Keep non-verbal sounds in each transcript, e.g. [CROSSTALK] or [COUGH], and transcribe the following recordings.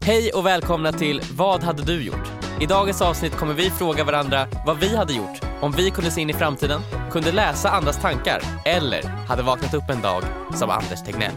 Hej och välkomna till Vad hade du gjort? I dagens avsnitt kommer vi fråga varandra vad vi hade gjort om vi kunde se in i framtiden, kunde läsa andras tankar eller hade vaknat upp en dag som Anders Tegnell.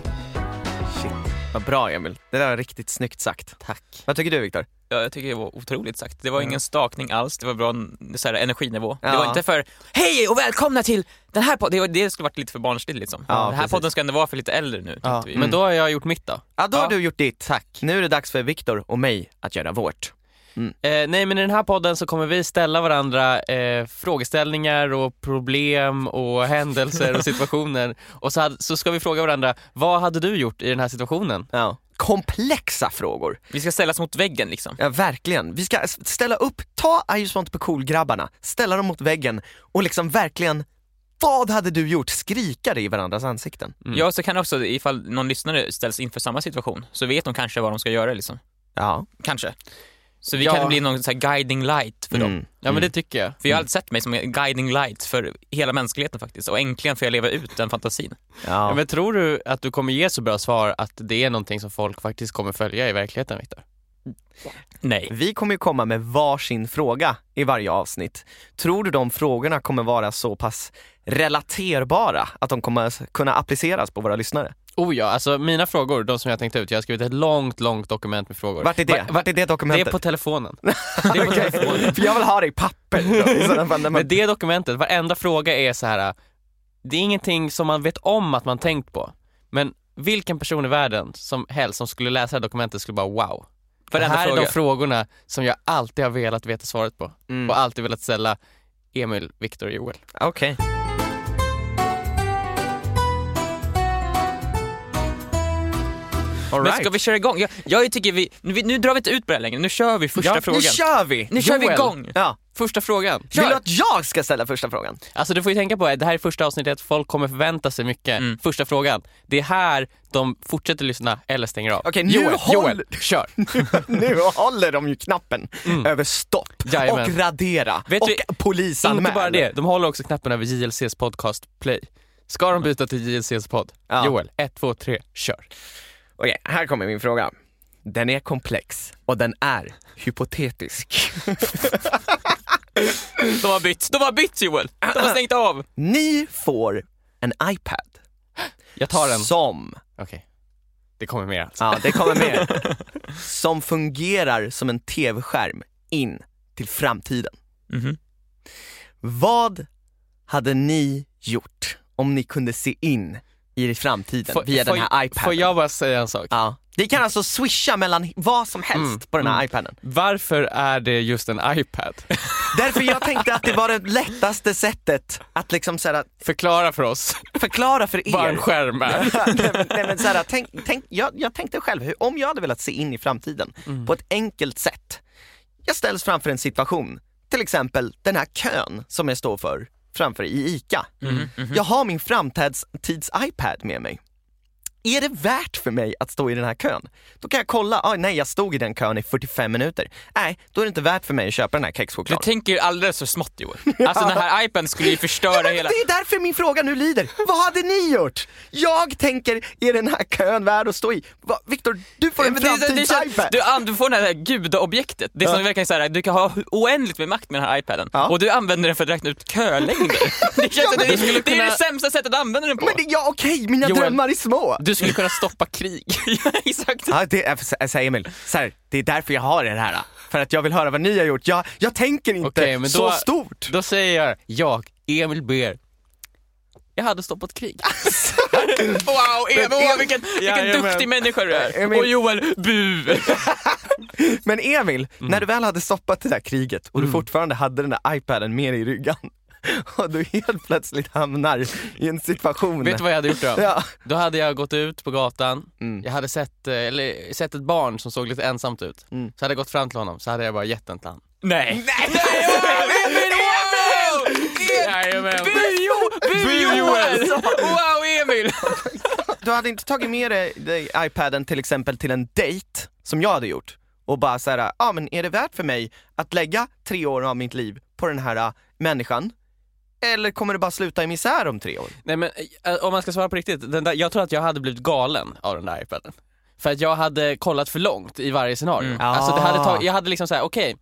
Shit, vad bra Emil. Det där var riktigt snyggt sagt. Tack. Vad tycker du Viktor? Ja, jag tycker det var otroligt sagt. Det var ingen stakning alls, det var bra så här, energinivå. Mm. Ja. Det var inte för hej och välkomna till den här podden. Det, var- det skulle varit lite för barnsligt liksom. Ja, den här precis. podden ska ändå vara för lite äldre nu. tyckte Ja, vi. Men då har jag gjort mitt då. Ja, då har Ja. du gjort ditt. Tack. Nu är det dags för Viktor och mig att göra vårt. Eh, nej, men i den här podden så kommer vi ställa varandra eh, frågeställningar och problem [LAUGHS] och händelser och situationer. Och så, hade, så ska vi fråga varandra, vad hade du gjort i den här situationen? Ja. Komplexa frågor. Vi ska ställas mot väggen liksom. Ja, verkligen. Vi ska s- ställa upp, ta I just want to be cool-grabbarna, ställa dem mot väggen och liksom verkligen, vad hade du gjort? Skrika det i varandras ansikten. Mm. Ja, så kan också ifall någon lyssnare ställs inför samma situation så vet de kanske vad de ska göra liksom. Ja. Kanske. Så vi Ja. kan bli någon så här guiding light för dem. Mm. Ja, men det tycker jag. Mm. För jag har alltid sett mig som en guiding light för hela mänskligheten faktiskt och äntligen får jag leva ut den fantasin. Ja. Ja. Men tror du att du kommer ge så bra svar att det är någonting som folk faktiskt kommer följa i verkligheten, Viktor? Nej. Vi kommer ju komma med varsin fråga i varje avsnitt. Tror du de frågorna kommer vara så pass relaterbara att de kommer s- kunna appliceras på våra lyssnare? Oh ja, alltså mina frågor, de som jag tänkte ut, jag har skrivit ett långt, långt dokument med frågor. Vart är det? Va- va- Vart är det det är dokumentet? på telefonen. Det [LAUGHS] är på telefonen. För jag vill ha det i papper. då, i sådana fall när man- Men det dokumentet, varenda fråga är så här. det är ingenting som man vet om att man tänkt på, men vilken person i världen som helst som skulle läsa det här dokumentet skulle bara wow. För det Varenda här är de fråga. frågorna som jag alltid har velat veta svaret på Mm. och alltid velat ställa Emil, Viktor och Joel. Okej. All Men right. ska vi köra igång? Jag, jag tycker vi, nu, nu drar vi inte ut på det här längre, nu kör vi första ja, frågan. Nu kör vi! Nu kör vi Joel. igång! Ja. Första frågan. Vill du att jag ska ställa första frågan? Alltså du får ju tänka på det, det här är första avsnittet, folk kommer förvänta sig mycket. Mm. Första frågan, det är här de fortsätter lyssna eller stänger av. Okej, nu Joel, håll- Joel, kör! nu håller de ju knappen över stopp Mm. Jajamän. och radera Vet och vi- polisanmäl. Inte bara det, de håller också knappen över JLCs podcast play. Ska de byta till JLCs podd? Ja. Joel, ett, två, tre, kör. Okej, här kommer min fråga. Den är komplex och den är hypotetisk. [LAUGHS] De har bytt, de har bytt Joel! De har stängt av! Ni får en iPad Jag tar den. som, Okej. Det kommer mer alltså. ja det kommer med, [LAUGHS] som fungerar som en tv-skärm in till framtiden. Mhm. Vad hade ni gjort om ni kunde se in i framtiden Får- via den får- här iPaden? Får jag bara säga en sak? Ja. Ni kan alltså swisha mellan vad som helst Mm, på den här mm. iPaden. Varför är det just en iPad? Därför jag tänkte att det var det lättaste sättet att liksom så här, Förklara för oss förklara för [LAUGHS] er. vad en skärm är. [LAUGHS] nej, men- nej, men så här, tänk, tänk, jag, jag tänkte själv, hur, om jag hade velat se in i framtiden på ett enkelt sätt. Jag ställs framför en situation, till exempel den här kön som jag står för framför i ICA. Jag har min framtids-iPad med mig. Är det värt för mig att stå i den här kön? Då kan jag kolla, ah, nej jag stod i den kön i 45 minuter. Nej, då är det inte värt för mig att köpa den här Du kexchokladen. tänker ju alldeles för smått Joel. Alltså den här iPaden skulle ju Ja, förstöra men hela... Det är därför min fråga nu lyder, vad hade ni gjort? Jag tänker, är den här kön värd att stå i? Va, Viktor, du får Men en det är så- det är så- framtids-iPad! Du, an- du får det här gudaobjektet, det som verkar såhär, du kan ha oändligt med makt med den här iPaden Ja. och du använder den för att räkna ut kölängder. Det känns som att det, skulle det är kunna- det sämsta sättet att använda den på. Men det, ja okej, mina Joel. drömmar är små! Du skulle kunna stoppa krig. Ja, Exakt. Ja, det, är- så- så här, Emil, så här, det är därför jag har det här. För att jag vill höra vad ni har gjort. Jag, jag tänker inte Okej, men så då- stort. Då säger jag, jag, Emil Ah! Ber, jag hade stoppat krig. Wow, Eva, Men- vilken, vilken Jajamän. duktig människa du är. Emil- Och Joel, bu! Men Emil, när du väl hade stoppat det där kriget och du fortfarande hade den där iPaden med dig i ryggen [LAUGHS] och du helt plötsligt hamnar i en situation. Vet du vad jag hade gjort då? Ja. Då hade jag gått ut på gatan, Mm. jag hade sett, eh, eller, sett ett barn som såg lite ensamt ut. Mm. Så hade jag gått fram till honom, så hade jag bara gett den till honom. Nej! Nej! Wow! Emil! Wow! Jajamän! Bu- Bu Joel! Wow Emil! Du hade inte tagit med dig, dig iPaden till exempel till en dejt, som jag hade gjort, och bara så här, ja ah, men är det värt för mig att lägga tre år av mitt liv på den här ah, människan? Eller kommer det bara sluta i [LAUGHS] misär om tre år? Nej men eh, om man ska svara på riktigt, den där, jag tror att jag hade blivit galen av den där iPaden. För att jag hade kollat för långt i varje scenario. Mm. Alltså det hade Ah. tag- jag hade liksom såhär, okej,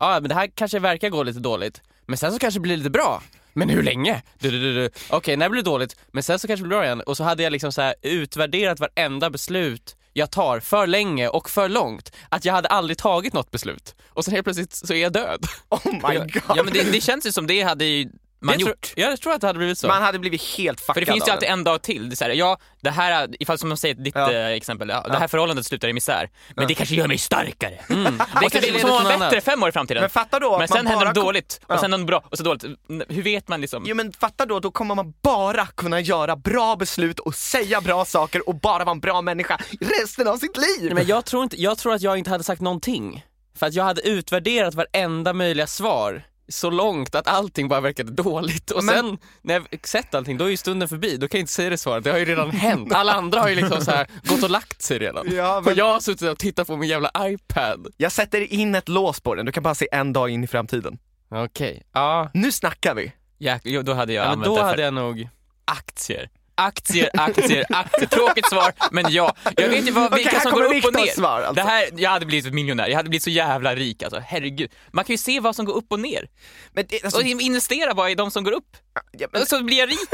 ja men det här kanske verkar gå lite dåligt, men sen så kanske det blir lite bra. Men hur länge? Du, du, du, du. Okej, när blir det dåligt? Men sen så kanske det blir bra igen. Och så hade jag liksom så här utvärderat varenda beslut jag tar för länge och för långt. Att jag hade aldrig tagit något beslut. Och sen helt plötsligt så är jag död. Oh my Ja, god. ja men det, det känns ju som det hade ju man jag gjort. Tror, jag tror att det hade blivit så. Man hade blivit helt fuckad För det finns av ju alltid den. en dag till. Det är så här, ja, det här, ifall som de säger ditt Ja. eh, exempel, ja, det Ja. här förhållandet slutar i misär. Men det kanske gör mig starkare. Mm. Det Och sen kanske leder kommer till vara något bättre annat. fem år i framtiden. Men Men, fatta då att sen man händer bara något dåligt och Ja. sen något bra och så dåligt. N- Hur vet man liksom? Jo men fatta då, då kommer man bara kunna göra bra beslut och säga bra saker och bara vara en bra människa resten av sitt liv! Nej, men jag, tror inte, jag tror att jag inte hade sagt någonting. För att jag hade utvärderat varenda möjliga svar så långt att allting bara verkade dåligt. Och Men- sen när jag sett allting, då är ju stunden förbi. Då kan jag inte säga det svaret. Det har ju redan hänt. Alla andra har ju liksom så här gått och lagt sig redan. Ja, Och men- jag har suttit och tittat på min jävla iPad. Jag sätter in ett lås på den, du kan bara se en dag in i framtiden. Okej, ja. Nu snackar vi! Ja, jo, då hade jag ja men använt då det för hade jag nog... aktier. Aktier, aktier, aktier. Tråkigt svar, men ja. Jag vet ju vad, Okej, vilka här som kommer går upp och Viktors ner. svar, alltså. det här, jag hade blivit miljonär, jag hade blivit så jävla rik alltså. Herregud. Man kan ju se vad som går upp och ner. Men det, alltså, Och investera bara i de som går upp. ja, men, Så blir jag rik. [LAUGHS]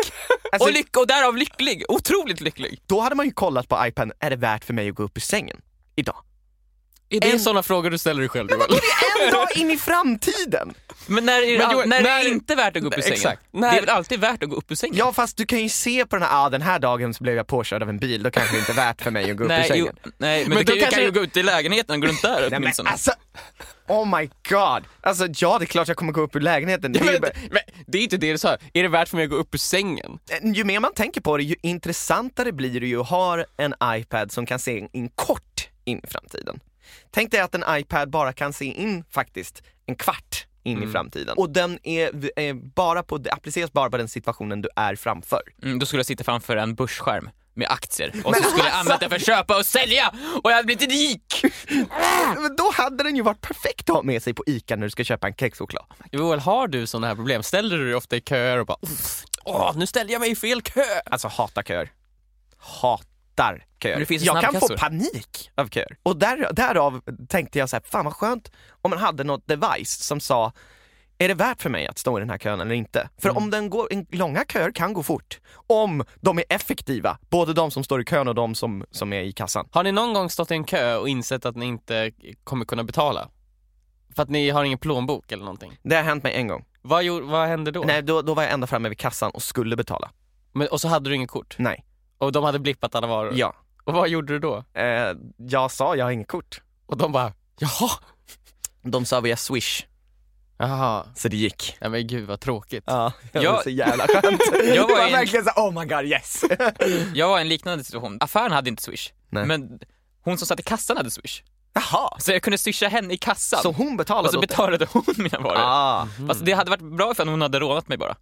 Alltså- och, lyck- och därav lycklig. Otroligt lycklig. då hade man ju kollat på iPaden, är det värt för mig att gå upp ur sängen? Idag. Är det En- sådana frågor du ställer dig själv Joel? En dag in i framtiden! Men när är, det Men all- Joel, när när- är det inte värt att gå upp ur Nej, sängen? exakt. Det När- är väl alltid värt att gå upp ur sängen? Ja fast du kan ju se på den här, ah, den här dagen så blev jag påkörd av en bil, då kanske det inte är värt för mig att gå upp ur Nej, sängen. jo, nej men, Men du då kan, ju- kanske- kan ju gå ut i lägenheten och gå runt där Nej, men åtminstone. alltså, oh my god! Alltså ja, det är klart jag kommer gå upp ur lägenheten. Det är ju, Men, men det är inte det du sa. Är det värt för mig att gå upp ur sängen? bara- Eh, ju mer man tänker på det, ju intressantare blir det ju att ha en iPad som kan se in kort in i framtiden. Tänk dig att en iPad bara kan se in faktiskt en kvart in i framtiden. Och den är, är bara på, det appliceras bara på den situationen du är framför. Mm, då skulle jag sitta framför en börsskärm med aktier och så skulle alltså- jag använda det för att köpa och sälja och jag hade blivit rik! [LAUGHS] Men då hade den ju varit perfekt att ha med sig på ICA när du ska köpa en kexchoklad. Joel, har du sådana här problem? Ställer du dig ofta i köer och bara "Uff, åh, nu ställde jag mig i fel kö? Alltså hatar köer. Hatar köer. Men det finns ju jag kan snabbkassor. få panik av köer. Och där, därav tänkte jag så här, fan vad skönt om man hade något device som sa är det värt för mig att stå i den här kön eller inte? För Mm. om den går, en, långa köer kan gå fort. Om de är effektiva, både de som står i kön och de som, som är i kassan. Har ni någon gång stått i en kö och insett att ni inte kommer kunna betala? För att ni har ingen plånbok eller någonting? Det har hänt mig en gång. Vad, gjorde, vad hände då? Nej, då, då var jag ända framme vid kassan och skulle betala. Men, och så hade du inget kort? Nej. Och de hade blippat alla varor? Ja. Och vad gjorde du då? Eh, jag sa jag har inget kort. Och de bara jaha? De sa via swish, Jaha. så det gick. Ja, men gud vad tråkigt. Ja, det Jag- var så jävla skönt. [LAUGHS] Jag det var var i en- verkligen så här, oh my god yes. Jag var i en liknande situation. Affären hade inte swish, Nej. men hon som satt i kassan hade swish. Jaha, Så jag kunde swisha henne i kassan så hon betalade och så åt dig? betalade hon mina varor. Ah. Alltså, det hade varit bra ifall hon hade rånat mig bara.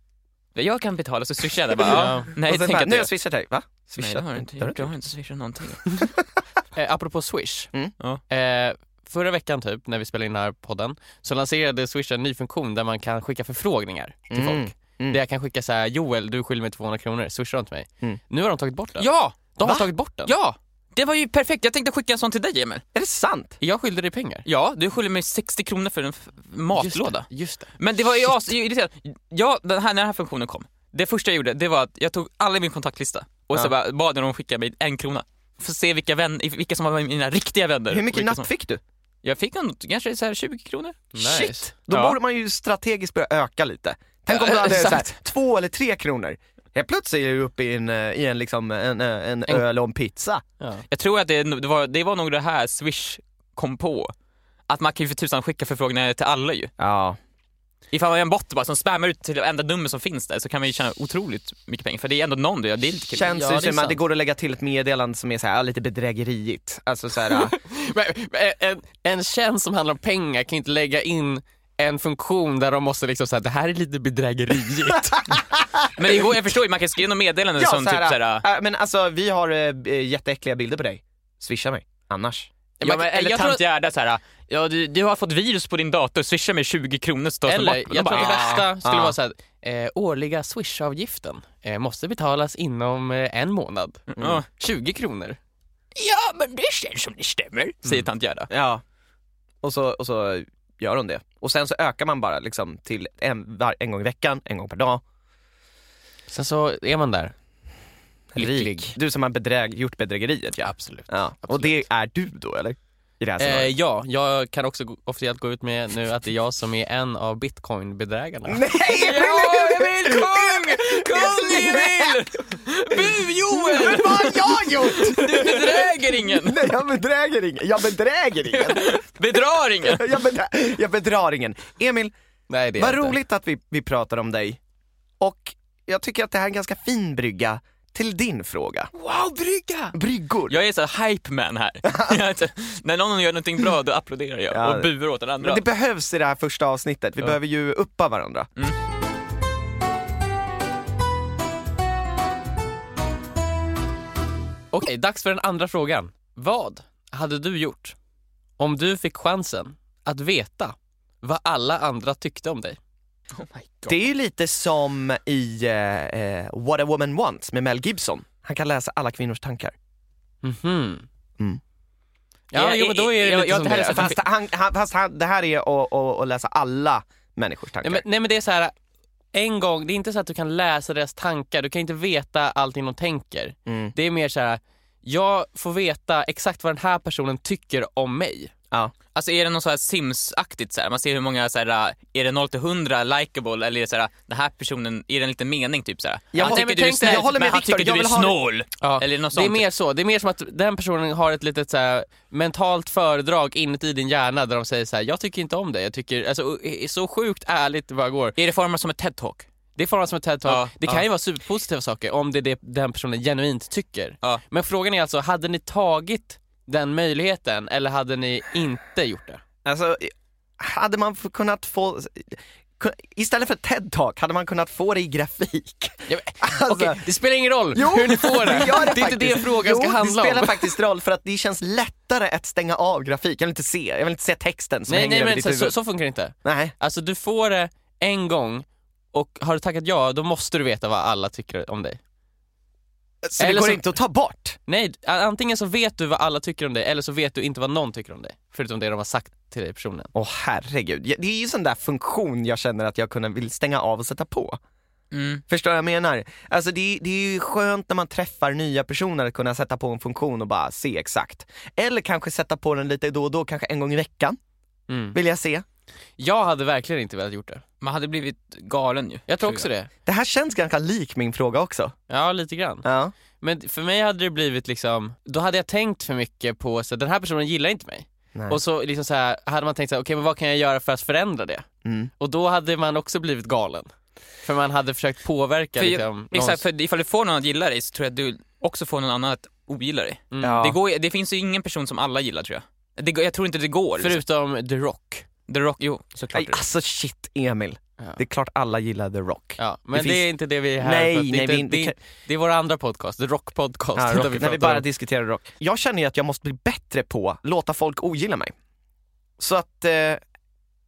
Jag kan betala så swishar jag henne. Bara, Ja. ja. Nej, och sen tänk bara, att nu har jag... jag swishat dig, va? Nej, det har jag inte gjort. Jag har inte swishat [LAUGHS] någonting. Eh, apropå Swish. Mm. Ja. Eh, förra veckan typ, när vi spelade in den här podden, så lanserade Swish en ny funktion där man kan skicka förfrågningar till Mm. folk. Där jag kan skicka så här: Joel du skyller mig 200 kronor, swishar du till mig? Mm. Nu har de tagit bort den. Ja! De har Va? tagit bort den. Ja! Det var ju perfekt. Jag tänkte skicka en sån till dig, Emil. Är det sant? Jag skyllde dig pengar. Ja, du skyller mig 60 kronor för en f- matlåda. Just det. Men det var ju as- irriterande. Ja, den här, när den här funktionen kom, det första jag gjorde det var att jag tog alla i min kontaktlista och Ja. så bara bad jag dem skicka mig en krona. För att se vilka, vän, vilka som var mina riktiga vänner. Hur och mycket vilka som- napp fick du? Jag fick någon, kanske så här 20 kronor. Nice. Shit! Då Ja. borde man ju strategiskt börja öka lite. Tänk om du Ja, [LAUGHS] hade så här, exakt. två eller tre kronor. Helt plötsligt är du uppe i en, eh, i en, liksom, en, eh, en öl och en pizza. Ja. Jag tror att det, det, var, det var nog det här Swish kom på. Att man kan ju för tusan skicka förfrågningar till alla ju. Ja. Ifall man är en bot bara som spammar ut till det enda nummer som finns där så kan man ju tjäna otroligt mycket pengar. För det är ändå någon du gör, det är lite kul. Känns Ja, ju det är som att det sant. går att lägga till ett meddelande som är så här, lite bedrägeriigt. Alltså så här, Men, men en, en tjänst som handlar om pengar kan ju inte lägga in en funktion där de måste liksom säga det här är lite bedrägerigt. Men det går, jag förstår ju, man kan skriva något meddelande Ja, som så här, typ såhär... äh, men alltså vi har eh, b- jätteäckliga bilder på dig. Swisha mig. Annars. Ja, Man- men, eller jag tant tror- Gerda såhär, ja, du, du har fått virus på din dator, swisha mig 20 kronor så tas den Eller, bort. jag De tror bara, att det "Ah." bästa skulle ah. vara såhär, eh, årliga Mm. swishavgiften eh, måste betalas inom eh, en månad. Ja. 20 kronor. Ja, men det känns som det stämmer, Mm. säger tant Gerda. Ja. Och så, och så gör hon det. Och sen så ökar man bara liksom till en, var, en gång i veckan, en gång per dag. Sen så är man där. Rik. Du som har bedräg, gjort bedrägeriet ja. Absolut. ja. Och absolut. det är du då eller? I det [LAUGHS] här Eh, scenariot. ja, jag kan också gå- officiellt gå ut med nu att det är jag som är en av bitcoinbedrägarna. Nej! Emil, kung! Kung Emil! Bu Joel! Vad har jag gjort? Du bedräger ingen, Nej, jag bedräger ingen. Jag bedräger ingen. [LAUGHS] bedrar ingen. Jag, bedra, jag bedrar ingen. Emil, Nej, det är vad jag inte. roligt att vi, vi pratar om dig. Och jag tycker att det här är en ganska fin brygga till din fråga. [LAUGHS] Wow, brygga! Bryggor. Jag är så här hype man [LAUGHS] här. Jag är så- När någon gör någonting bra då applåderar jag Ja. och buar åt den andra. Men det behövs i det här första avsnittet. Vi behöver ju uppa varandra. Mm, Okej, dags för den andra frågan. Vad hade du gjort om du fick chansen att veta vad alla andra tyckte om dig? Oh my God. Det är ju lite som i eh, eh, What a woman wants med Mel Gibson. Han kan läsa alla kvinnors tankar. Mhm. Mm. Ja, Ja, jo, men då är Alltså, det jag- lite jag- som det här är så det. Fast, han, han, fast han, det här är att, att, att läsa alla människors tankar. Nej men, nej men det är så här, en gång, det är inte så att du kan läsa deras tankar, du kan inte veta allting de tänker. Mm. Det är mer så här, jag får veta exakt vad den här personen tycker om mig. ja. Alltså är det något så här Sims-aktigt så här? Man ser hur många så här, äh, är det 0 till 100 likeable eller är det så här, äh, den här personen, är det en liten mening typ så här? Jag han håller- tycker men du är tänk dig, snäll, jag håller med men han Viktor, tycker jag du är vill ha- snål. Eller något det är sånt. mer så, det är mer som att den personen har ett litet så här, mentalt föredrag inuti din hjärna där de säger så här, jag tycker inte om dig, jag tycker, alltså i- i- så sjukt ärligt det bara går. Är det format som ett TED-talk? Det får man som ett TED-talk. Ja, det kan ju vara superpositiva saker om det är det den personen genuint tycker. Ja. Men frågan är alltså, hade ni tagit den möjligheten eller hade ni inte gjort det? Alltså, hade man f- kunnat få... kun- Istället för TED-talk hade man kunnat få det i grafik. [LAUGHS] Ja, men- Alltså, Okej, det spelar ingen roll hur ni får [LAUGHS] det. det gör är inte det faktiskt. frågan jo, ska handla det spelar om. faktiskt roll för att det känns lättare att stänga av grafik. Jag vill inte se, jag vill inte se texten som Nej, hänger nej över men ditt så, huvud. så, så funkar det inte. Nej. Alltså du får det en gång och har du tackat ja, då måste du veta vad alla tycker om dig. Så Eller det går så- inte att ta bort. Nej, a- antingen så vet du vad alla tycker om dig eller så vet du inte vad någon tycker om dig. Förutom det de har sagt till dig personligen. Åh herregud, Ja, det är ju sån där funktion jag känner att jag kunde vill stänga av och sätta på. Mm. Förstår vad jag menar? Alltså det, det är ju skönt när man träffar nya personer att kunna sätta på en funktion och bara se exakt. Eller kanske sätta på den lite då och då, kanske en gång i veckan Mm. vill jag se. Jag hade verkligen inte velat gjort det. Man hade blivit galen ju. Jag tror också det. Det här känns ganska lik min fråga också. Ja, lite grann. Ja. Men för mig hade det blivit liksom, då hade jag tänkt för mycket på så här, den här personen gillar inte mig. Nej. Och så liksom så här, hade man tänkt så här, okej men vad kan jag göra för att förändra det? Mm. Och då hade man också blivit galen. För man hade försökt påverka För, liksom, Exakt, någons- för ifall du får någon att gilla dig så tror jag att du också får någon annan att ogilla dig. Mm. Ja. Det, går, ju- det finns ju ingen person som alla gillar tror jag. Det, går- jag tror inte det går. liksom. ah. Förutom The Rock. The Rock, jo såklart. Nej, alltså shit Emil, Ja. det är klart alla gillar The Rock. Ja, men det, finns- är inte det vi är här Nej, för. att Det är, nej, inte, vi inte- det, är, det är vår andra podcast, The Rock Podcast. Ja, där rock, när vi pratar bara om- diskuterar rock. Jag känner ju att jag måste bli bättre på att låta folk ogilla mig. Så att, eh,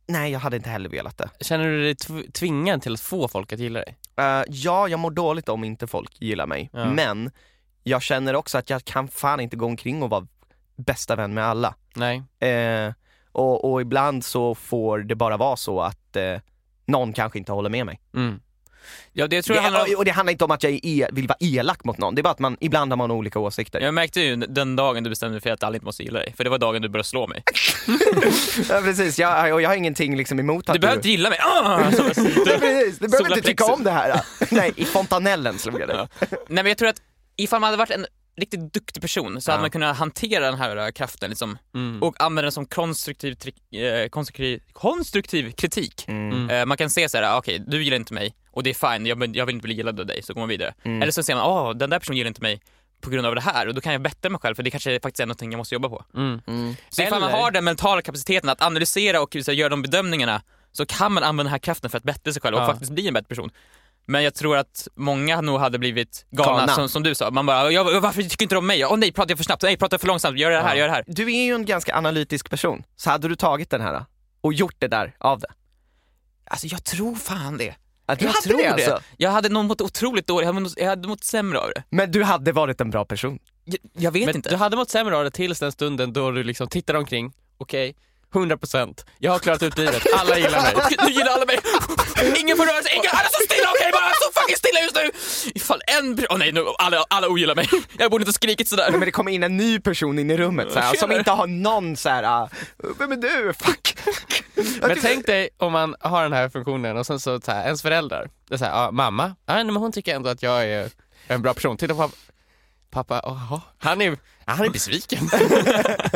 nej jag hade inte heller velat det. Känner du dig tv- tvingad till att få folk att gilla dig? Eh, ja, jag mår dåligt om inte folk gillar mig, Ja. men jag känner också att jag kan fan inte gå omkring och vara bästa vän med alla. Nej. Eh, och, och ibland så får det bara vara så att eh, någon kanske inte håller med mig. Mm. Ja, det, jag tror Det, jag handlar om... Och det handlar inte om att jag är e- vill vara elak mot någon, det är bara att man, ibland har man olika åsikter. Jag märkte ju den dagen du bestämde dig för att alla inte måste gilla dig, för det var dagen du började slå mig. Ja, precis, jag, och jag har ingenting liksom emot att Du behöver inte gilla mig! [LAUGHS] Ah! Så- Nej, precis. Du behöver inte tycka Solarplexus. om det här. [LAUGHS] då. Nej, i fontanellen slog jag det. Ja. Nej men jag tror att ifall man hade varit en riktigt duktig person så hade Ja. man kunnat hantera den här eh, kraften liksom, Mm. och använda den som konstruktiv, tri- eh, konstruktiv, konstruktiv kritik. Mm. Eh, man kan se så här: ah, okej du gillar inte mig och det är fine, jag, vill- jag vill inte bli gillad av dig, så går man vidare. Mm. Eller så ser man, åh den där personen gillar inte mig på grund av det här och då kan jag bättra mig själv för det kanske faktiskt är någonting jag måste jobba på. Mm. Så ifall man Eller- har den mentala kapaciteten att analysera och så, här, göra de bedömningarna så kan man använda den här kraften för att bättra sig själv och Ja. faktiskt bli en bättre person. Men jag tror att många nog hade blivit galna, Galna. Som, som du sa. Man bara, jag, varför tycker inte de om mig? Åh nej, pratar jag för snabbt? Nej, pratar jag för långsamt? Gör det här, Ja. gör det här. Du är ju en ganska analytisk person, så hade du tagit den här och gjort det där av det? Alltså jag tror fan det. Att Jag alltså? tror det. Jag hade nog mått otroligt dåligt, jag hade mått- jag hade mått sämre av det. Men du hade varit en bra person. Jag, jag vet Men inte. du hade mått sämre av det tills den stunden då du liksom tittar omkring, okej, 100%, jag har klarat ut livet, alla gillar [LAUGHS] mig. [LAUGHS] Nu gillar alla mig. Ingen får röra sig. Ingen, alla står stilla. Okej, bara så fucking stilla just nu. Ifall en... Åh nej, nu, alla, alla ogillar mig. [LAUGHS] Jag borde inte ha skrikit Nej, sådär. men det kommer in en ny person in i rummet så här, som inte har någon så här, ah, vem är du? Fuck! Men tänk dig om man har den här funktionen och sen så, så här, ens föräldrar, det är så här, ja, mamma, ja, nej, men hon tycker ändå att jag är en bra person. Titta på pappa, pappa aha, han, är, han är besviken.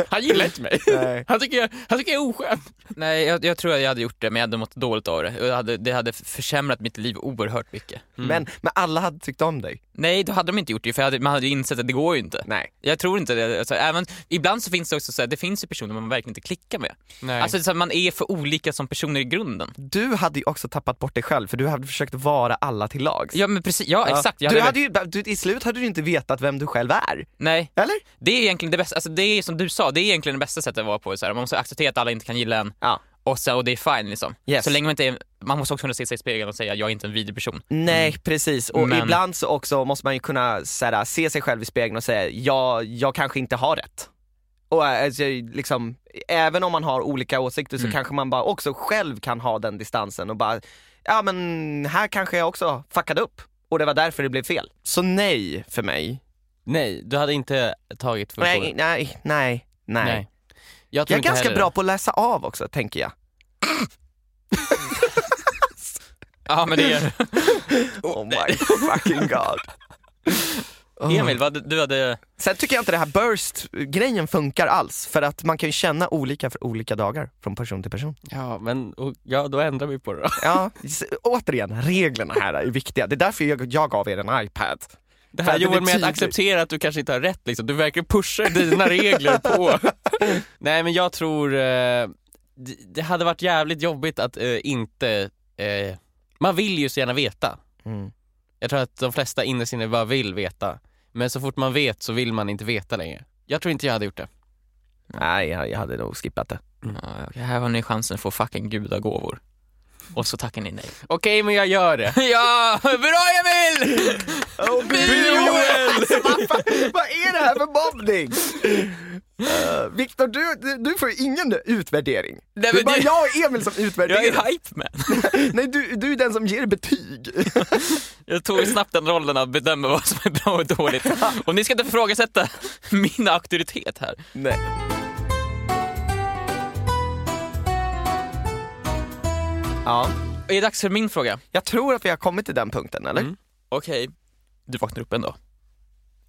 han gillar inte mig. Nej. Han tycker, jag, han tycker jag är oskön. Nej, jag, jag tror att jag hade gjort det, men jag hade mått dåligt av det. Jag hade, det hade försämrat mitt liv oerhört mycket. Men, men alla hade tyckt om dig. Nej, då hade de inte gjort det, för jag hade, man hade ju insett att det går ju inte. Nej. Jag tror inte det. Alltså, även, ibland så finns det också så här, det finns ju personer man verkligen inte klickar med. Nej. Alltså, så här, man är för olika som personer i grunden. Du hade ju också tappat bort dig själv för du hade försökt vara alla till lags. Ja, men precis. Ja, exakt. Jag du hade, hade ju, du, I slut hade du inte vetat vem du själv är. Nej, Eller? det är egentligen det bästa. Alltså, det är som du sa, det är egentligen det bästa sättet att vara på. Så här. Man måste acceptera att alla inte kan gilla en. Ja. och, så, och det är fine liksom. Yes. Så länge man inte är, man måste också kunna se sig i spegeln och säga jag är inte en vidrig person. Nej precis, och Men- ibland så också måste man ju kunna så här, se sig själv i spegeln och säga ja, jag kanske inte har rätt. Och äh, alltså, liksom, även om man har olika åsikter Mm. så kanske man bara också själv kan ha den distansen och bara ja men här kanske jag också fuckade upp och det var därför det blev fel. Så nej för mig. nej, du hade inte tagit funktionen. Nej, nej, nej, nej. Nej. Jag, tror Jag är inte ganska heller det. bra på att läsa av också tänker jag. Ja men det är Oh my fucking god. [LAUGHS] Oh. Emil, vad, du hade... Sen tycker jag inte det här burst-grejen funkar alls, för att man kan ju känna olika för olika dagar från person till person. Ja, men och, ja, då ändrar vi på det då. Ja, s- återigen, reglerna här är viktiga. Det är därför jag, jag gav er en iPad. [LAUGHS] Det För här att det Joel blir med att tydligt. acceptera att du kanske inte har rätt liksom. Du verkar pusha dina regler [LAUGHS] på. Nej men jag tror, eh, det, det hade varit jävligt jobbigt att eh, inte, eh, man vill ju så gärna veta. Mm. Jag tror att de flesta innerst inne bara vill veta. Men så fort man vet så vill man inte veta längre. Jag tror inte jag hade gjort det. Nej, jag, jag hade nog skippat det. Ja, okej, här har ni chansen att få fucking gudagåvor. Och så tackar ni nej. Okej men jag gör [LAUGHS] det. Ja, bra Emil! Oh, Joel! Alltså, Vad är det här för mobbning? Uh, Viktor, du, du, du får ju ingen utvärdering. Nej, det är men bara det- jag och Emil som Jag utvärderar. är hype man. Nej, du, du är den som ger betyg. Jag tog snabbt den rollen att bedöma vad som är bra och [LAUGHS] dåligt. Och ni ska inte ifrågasätta min auktoritet här. Nej. Ja. Är det dags för min fråga? Jag tror att vi har kommit till den punkten, eller? Mm. Okej. Du vaknar upp en dag.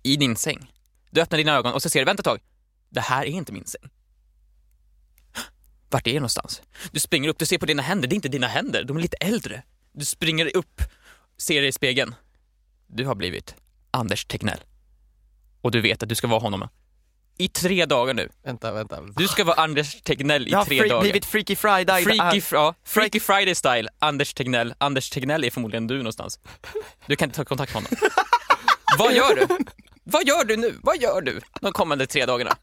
I din säng. Du öppnar dina ögon och så ser du, vänta ett tag. Det här är inte min säng. Vart är jag någonstans? Du springer upp, du ser på dina händer. Det är inte dina händer, de är lite äldre. Du springer upp, ser dig i spegeln. Du har blivit Anders Tegnell. Och du vet att du ska vara honom i tre dagar nu. Vänta, vänta. Du ska vara Anders Tegnell i Jag har tre fri- dagar. blivit Freaky Friday. Äh, Freaky, fr- ja, Freaky Friday style, Anders Tegnell. Anders Tegnell är förmodligen du någonstans. Du kan inte ta kontakt med honom. [LAUGHS] Vad gör du? Vad gör du nu? Vad gör du de kommande tre dagarna?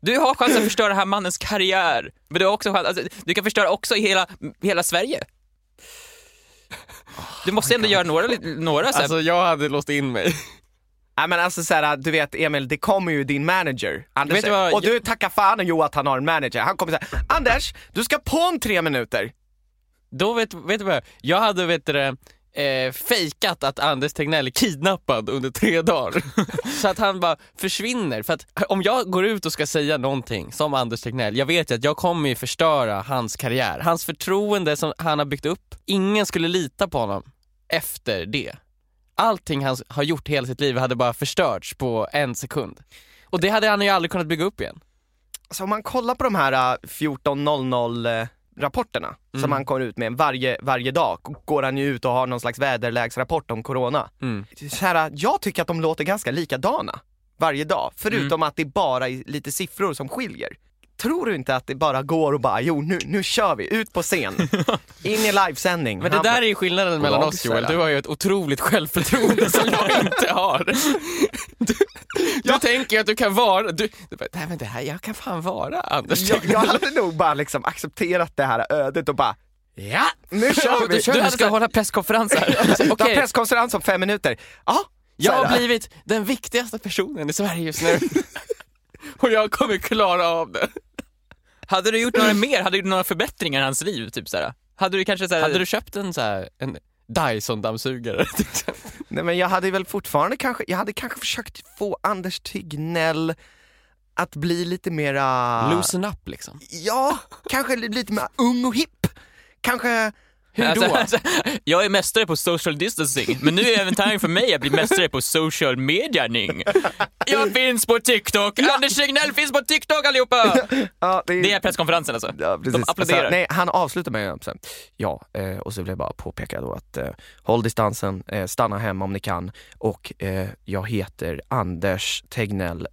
Du har chansen att förstöra den här mannens karriär. Men du har också chans, alltså, du kan förstöra också i hela, hela Sverige. Du måste ändå göra några, li- några så här, Alltså jag hade låst in mig. [LAUGHS] Nej, men alltså så här, du vet Emil, det kommer ju din manager. Anders, Vet du vad- och du tackar fan jo att han har en manager. Han kommer säga Anders, du ska på om tre minuter. Då vet, vet du vad, jag- jag hade vet du, det, eh, fejkat att Anders Tegnell är kidnappad under tre [LAUGHS] dagar. så att han bara försvinner. För att om jag går ut och ska säga någonting som Anders Tegnell, jag vet ju att jag kommer ju förstöra hans karriär. Hans förtroende som han har byggt upp, ingen skulle lita på honom efter det. Allting han s- har gjort hela sitt liv hade bara förstörts på en sekund. Och det hade han ju aldrig kunnat bygga upp igen. Så Alltså, om man kollar på de här äh, 14.00 äh, rapporterna som han kommer ut med varje, varje dag, g- går han ju ut och har någon slags väderlägsrapport om corona. Mm. Så här, äh, jag tycker att de låter ganska likadana varje dag, förutom att det bara är lite siffror som skiljer. Tror du inte att det bara går och bara, jo nu, nu kör vi, ut på scen, in i livesändning. Men det Han- där är ju skillnaden mellan oss Joel, du har ju ett otroligt självförtroende som [LAUGHS] jag inte har. Du, du tänker ju att du kan vara, du, du bara, nej men det här, jag kan fan vara Anders jag, jag hade nog bara liksom accepterat det här ödet och bara, ja nu kör vi. Du Du hade ska så här- hålla presskonferens här. [LAUGHS] Alltså, Du har okej. presskonferens om fem minuter. Ja, Jag Så här, har blivit den viktigaste personen i Sverige just [LAUGHS] nu. Och jag kommer klara av det. Hade du gjort några mer? Hade du gjort några förbättringar i hans liv? Typ såhär? Hade du kanske såhär... Hade du köpt en, så här, en Dyson-dammsugare? till exempel? Nej men jag hade väl fortfarande kanske, jag hade kanske försökt få Anders Tegnell att bli lite mera... Loosen up liksom. Ja, kanske li- lite mer ung och hipp. Kanske... Hur då? Alltså, jag är mästare på social distancing, men nu är det även time för mig att bli mästare på social medianing. Jag finns på TikTok! Anders Tegnell finns på TikTok allihopa! Ja, Det är presskonferensen alltså. Ja, precis. De applåderar. Så, nej, han avslutar med att säga, ja, eh, och så vill jag bara påpeka då att eh, håll distansen, eh, stanna hemma om ni kan och eh, jag heter Anders Tegnell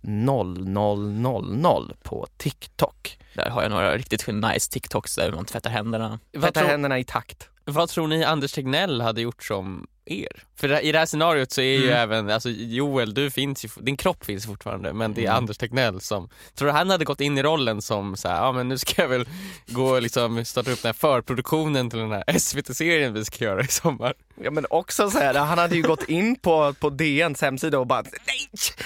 0000 på TikTok. Där har jag några riktigt nice TikToks där man tvättar händerna. Vad, Tvätta tro, händerna i takt. vad tror ni Anders Tegnell hade gjort som er? För det- i det här scenariot så är ju Mm. även, alltså Joel, du finns ju, din kropp finns fortfarande men det är Mm. Anders Tegnell som, tror du han hade gått in i rollen som så här, ja men nu ska jag väl gå och liksom starta upp den här förproduktionen till den här SVT-serien vi ska göra i sommar? Ja men också så här, han hade ju gått in på, på DNs hemsida och bara nej,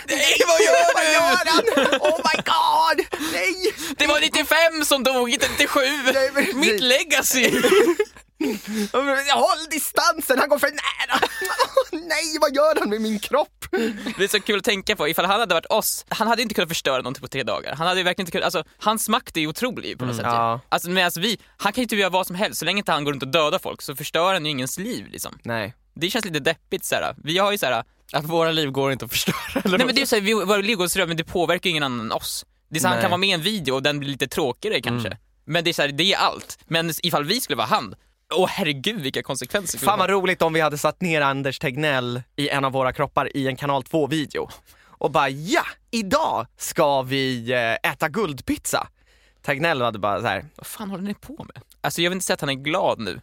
nej vad gör vad gör han? Oh my god, nej! Det var 95 som dog, inte 97! Nej, precis. Mitt legacy! Håll distansen, han går för nära! [LAUGHS] Nej, vad gör han med min kropp? Det är så kul att tänka på, ifall han hade varit oss, han hade inte kunnat förstöra någonting på tre dagar. Han hade ju verkligen inte kunnat, alltså, hans makt är ju otrolig på Mm, något sätt. ju. ja. Alltså, medan vi, han kan ju inte göra vad som helst, så länge inte han går runt och dödar folk så förstör han ju ingens liv liksom. Nej. Det känns lite deppigt såhär. Vi har ju såhär, Att våra liv går inte att förstöra eller nej men det är ju såhär, vi, våra liv går och strömmar, men det påverkar ju ingen annan än oss. Det är så här, han Nej. Mm. kan vara med i en video och den blir lite tråkigare kanske. Men det är, så här, det är allt. Men ifall vi skulle vara han, åh herregud vilka konsekvenser. skulle Fan det vad roligt om vi hade satt ner Anders Tegnell i en av våra kroppar i en kanal 2-video och bara ja, idag ska vi eh, äta guldpizza. Tegnell hade bara så här, Vad fan håller ni på med? Alltså jag vill inte säga att han är glad nu.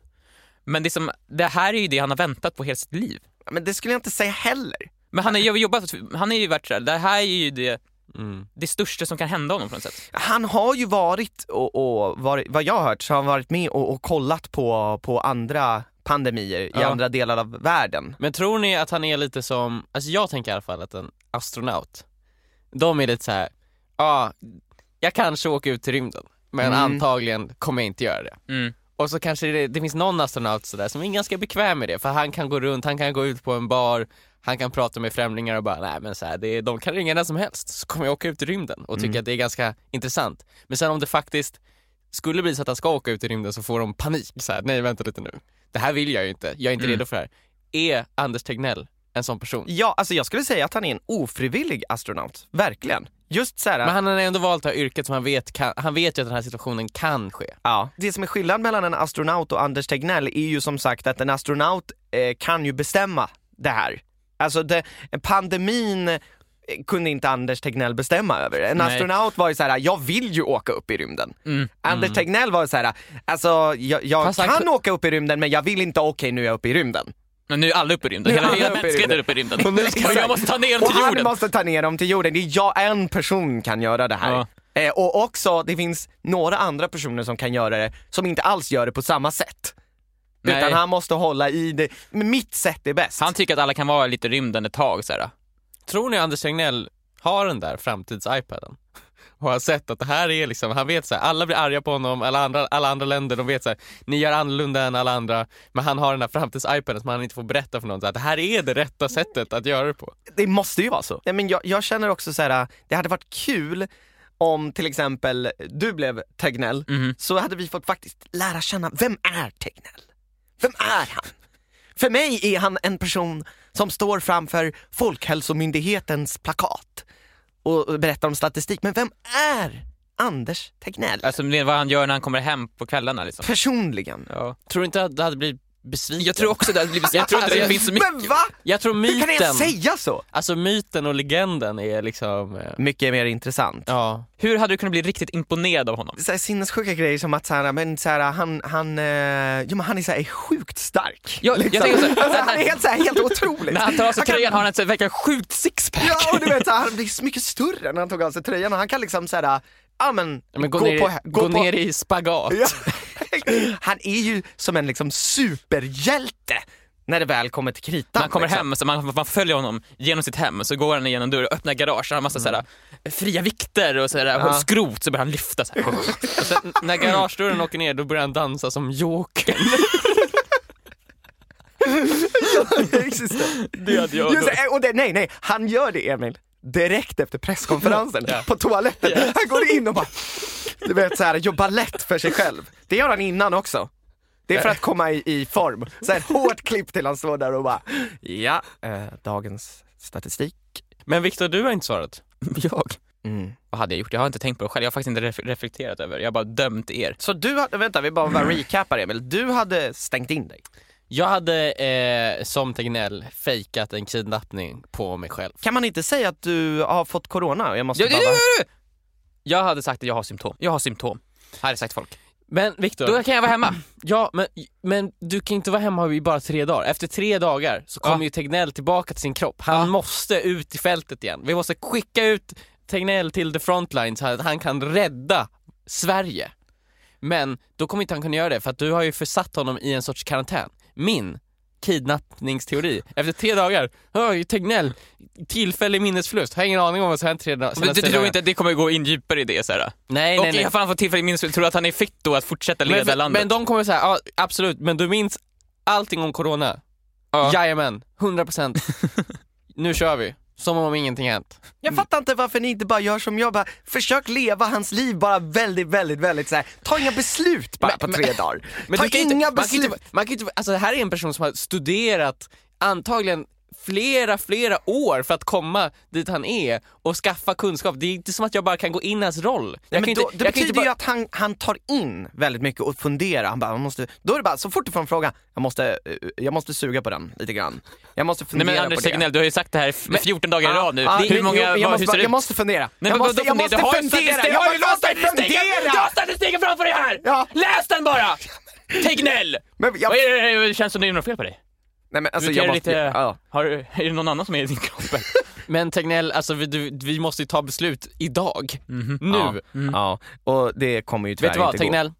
Men det, är som, det här är ju det han har väntat på hela sitt liv. men det skulle jag inte säga heller. Men han har ju jobbat, han är ju varit sådär, det här är ju det, Mm. det största som kan hända honom på något sätt. Han har ju varit, och, och varit, vad jag har hört, så har han varit med och, och kollat på, på andra pandemier i Ja. andra delar av världen. Men tror ni att han är lite som, alltså jag tänker i alla fall att en astronaut, de är lite så här, ja, jag kanske åker ut till rymden, men Mm. antagligen kommer jag inte göra det. Mm. Och så kanske det, det finns någon astronaut sådär som är ganska bekväm med det, för han kan gå runt, han kan gå ut på en bar, han kan prata med främlingar och bara, nej men så här, det, de kan ringa när som helst, så kommer jag åka ut i rymden och Mm. tycka att det är ganska intressant. Men sen om det faktiskt skulle bli så att han ska åka ut i rymden så får de panik, så här, nej vänta lite nu, det här vill jag ju inte, jag är inte Mm. redo för det här. Är Anders Tegnell en sån person? Ja, alltså jag skulle säga att han är en ofrivillig astronaut, verkligen. Just så här, Men han har ändå valt det här yrket som han vet, kan, han vet ju att den här situationen kan ske. Ja. Det som är skillnaden mellan en astronaut och Anders Tegnell är ju som sagt att en astronaut eh, kan ju bestämma det här. Alltså det, pandemin eh, kunde inte Anders Tegnell bestämma över. En Nej. astronaut var ju så här: jag vill ju åka upp i rymden. Mm. Anders Tegnell var ju så här, alltså jag, jag Fast han kan åka upp i rymden men jag vill inte, okej nu är jag uppe i rymden. Men nu är alla uppe i rymden, Nu är hela, alla hela uppe i mänskligheten rymden. är uppe i rymden. Och nu ska- [LAUGHS] Och jag måste ta ner dem Och till han jorden. måste ta ner dem till jorden, det är jag, en person kan göra det här. Ja. Eh, och också, det finns några andra personer som kan göra det, som inte alls gör det på samma sätt. Nej. Utan han måste hålla i det, men mitt sätt är bäst. Han tycker att alla kan vara lite i rymden ett tag såhär. Tror ni Anders Tegnell har den där framtids-iPaden? [LAUGHS] Och har sett att det här är liksom, han vet så här, alla blir arga på honom, alla andra, alla andra länder, de vet så här, ni gör annorlunda än alla andra, men han har den där framtids-iPaden som han inte får berätta för någon, så här, det här är det rätta sättet att göra det på. Det måste ju vara så. Nej, men jag, jag känner också så här, det hade varit kul om till exempel du blev Tegnell, så hade vi fått faktiskt lära känna, vem är Tegnell? Vem är han? För mig är han en person som står framför Folkhälsomyndighetens plakat och och berättar om statistik. Men vem är Anders Tegnell? Alltså det är vad han gör när han kommer hem på kvällarna liksom. Personligen. Ja. Tror du inte att det hade blivit besviken? Jag tror också det hade blivit Jag tror inte Alltså, det finns så mycket. Men va? Jag tror Hur kan jag myten, säga så? alltså myten och legenden är liksom, eh, Mycket mer intressant. ja. Hur hade du kunnat bli riktigt imponerad av honom? så här sinnessjuka grejer som att så här, men så här, han, han, eh, jo, men han är, så här, är sjukt stark. Ja, jag tänker så här- alltså, han är helt, så här, helt otroligt. När han tar av sig kan- tröjan har han ett så här verkligen sjukt sixpack. Ja, och du vet, så här, han blir så mycket större när han tog av sig tröjan och han kan liksom så här, ja men, Ja, Men gå, ner, på, i- gå, ner i spagat. Ja. Han är ju som en liksom superhjälte när det väl kommer till kritan. Man kommer liksom. hem, så man, man följer honom genom sitt hem, så går han igenom dörren, öppnar garage, han har massa såhär, Mm. fria vikter och såhär, Ja. skrot, så börjar han lyfta så här. [LAUGHS] Och sen, när garagedörren åker ner då börjar han dansa som Jokern. [LAUGHS] Precis det. Det hade jag Just det, och det, nej, nej, han gör det Emil. Direkt efter presskonferensen, på toaletten. Han går in och bara, du vet så här, gör ballett för sig själv. Det gör han innan också. Det är för att komma i, i form. Så här, hårt klipp till han står där och bara, ja, eh, dagens statistik. [LAUGHS] Men Viktor, du har inte svarat. Jag? Mm. Vad hade jag gjort? Jag har inte tänkt på det själv, jag har faktiskt inte ref- reflekterat över det. Jag har bara dömt er. Så du hade, vänta vi bara, bara recapar Emil, du hade stängt in dig. Jag hade eh, som Tegnell fejkat en kidnappning på mig själv. Kan man inte säga att du har fått corona? och Jag måste Jag, bara... jag hade sagt att jag har symptom. Jag har symptom. Hade sagt folk. Men Viktor, Då kan jag vara hemma. Mm. ja, men, men du kan inte vara hemma i bara tre dagar. Efter tre dagar så kommer Ja. ju Tegnell tillbaka till sin kropp. Han måste ut i fältet igen. Vi måste skicka ut Tegnell till the frontline så att han kan rädda Sverige. Men då kommer inte han kunna göra det för att du har ju försatt honom i en sorts karantän. Min kidnappningsteori. Efter tre dagar, oj Tegnell, tillfällig minnesförlust. Har ingen aning om vad som hänt tre dagar. Men du tror inte att det kommer gå in djupare i det? Så här. Nej, nej, Okej, nej. jag får han få tillfällig minnesbild. Tror du att han är fit då att fortsätta leda men, landet? Men de kommer säga, ja absolut, men du minns allting om corona? Ja. Jajamän, 100%. nu kör vi, som om ingenting hänt. Jag Mm. fattar inte varför ni inte bara gör som jag, bara försök leva hans liv bara väldigt, väldigt, väldigt så här. ta inga beslut bara på tre dagar. Men ta du kan ju inga inte, man kan beslut. ju inte, man kan ju inte, alltså det här är en person som har studerat antagligen flera, flera år för att komma dit han är och skaffa kunskap. Det är inte som att jag bara kan gå in i hans roll. Jag Nej, men kan ju då, inte, det jag kan betyder inte bara, ju att han, han tar in väldigt mycket och funderar. Han bara, man måste, då är det bara, så fort du får en fråga, jag måste, eh, jag måste suga på den lite grann. Jag måste Nej fundera men på Anders det. Tegnell, du har ju sagt det här f- 14 dagar i rad nu. Ah, Hur många, jag, vad, jag, hur måste, ser bara- det ut? jag måste fundera. Nej, jag men måste, vadå jag fundera? måste Du har ju fundera. statistik- Jag har ju måste statistiken- Du har fundera! statistiken framför dig här! Ja. Läs den bara! Tegnell! Men jag, Vad är det- det känns som det är något fel på dig. nej, men alltså, du kan jag ju måste, lite- ja. Har, du- är det någon annan som är i din kropp? men Tegnell, alltså vi, du, vi måste ju ta beslut idag. Nu. Ja. ja, och det kommer ju tyvärr Vet du vad inte gå. Tegnell?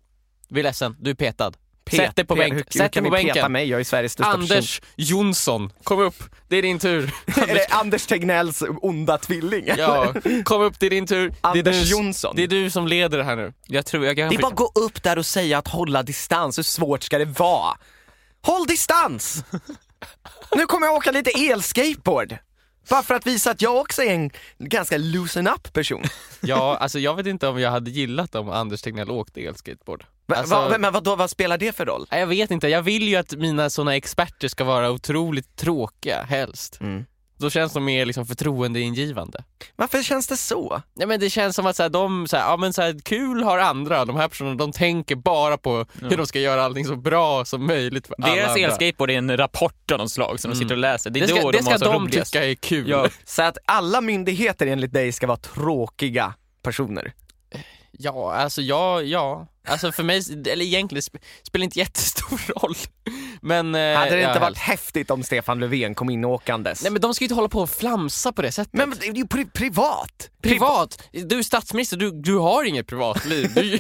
Vi är ledsen, du är petad. Pet- Sätt dig på Pet- hur- bänken. hur Sätt kan dig på ni Peta bänken. mig, jag är Sveriges [LAUGHS] största Anders Jonsson, kom upp, det är din tur. person. [LAUGHS] Är det Anders Tegnells onda tvilling? Ja, kom upp, det är din tur. det är du, Anders Jonsson. Det är du som leder det här nu. Jag tror jag kan... Det är bara att gå upp där och säga att hålla distans, hur svårt ska det vara? [LAUGHS] Håll distans! Nu kommer jag åka lite elskateboard. Bara för att visa att jag också är en ganska loosen up person. Ja, alltså jag vet inte om jag hade gillat om Anders Tegnell åkte elskateboard. Va, Alltså- va, men vadå, vad spelar det för roll? Nej, Jag vet inte, jag vill ju att mina såna experter ska vara otroligt tråkiga, helst. Mm. Då känns de mer liksom förtroendeingivande. Varför känns det så? Nej men det känns som att så här, de, så här, ja men så här, kul har andra, de här personerna, de tänker bara på hur de ska göra allting så bra som möjligt för alla Deras andra. elskateboard är en rapport av någon slag som de sitter och läser. Det är Det ska, då det de ska har så de roligast. tycka är kul. Ja. Så att alla myndigheter enligt dig ska vara tråkiga personer. Ja, alltså jag, ja. Alltså för mig, eller egentligen sp- spelar inte jättestor [LAUGHS] roll. Men... eh, Hade det ja, inte varit helst. häftigt om Stefan Löfven kom in åkandes? Nej men de ska ju inte hålla på och flamsa på det sättet. Men det är ju pri- privat! privat! Du är statsminister, du, du har inget privatliv. Du,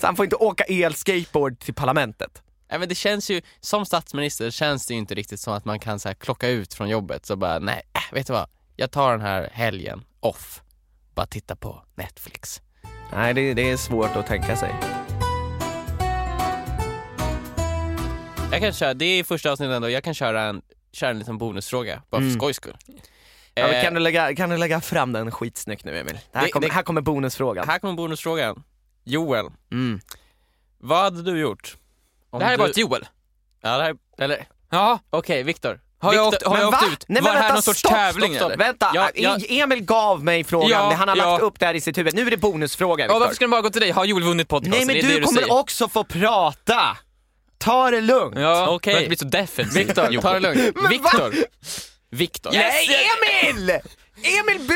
Så han får inte åka elskateboard till parlamentet. [LAUGHS] nej men det känns ju, som statsminister känns det ju inte riktigt som att man kan så här klocka ut från jobbet så bara, nej, äh, vet du vad? Jag tar den här helgen off. Bara titta på Netflix. Nej, det, det är svårt att tänka sig. Jag kan köra, det är första avsnittet ändå, jag kan köra en, köra en liten bonusfråga, bara för Mm. skojs skull. Ja, men Eh, kan, du lägga, kan du lägga fram den skitsnyggt nu Emil? Det här, Det- kommer, det- här kommer bonusfrågan. Här kommer bonusfrågan. Joel, Mm. vad hade du gjort? Om Det här är du... bara ett Joel. Ja, det här... Eller, Ja. okej, Viktor. Har jag Viktor- åkt, har jag va? åkt ut? Nej, men Var det här vänta, någon sorts stopp, tävling stopp, stopp. eller? Vänta, Ja, ja. I- Emil gav mig frågan, Ja, han har ja. lagt upp det här i sitt huvud. Nu är det bonusfråga Ja, Viktor. varför ska den bara gå till dig? Har Joel vunnit podcasten? Nej men Det är du, det kommer säger. också få prata! Ta det lugnt! Ja, Okej. okay. inte bli så defensiv. Viktor, ta det lugnt. Viktor. Viktor. Yes! Nej Emil! Emil, bu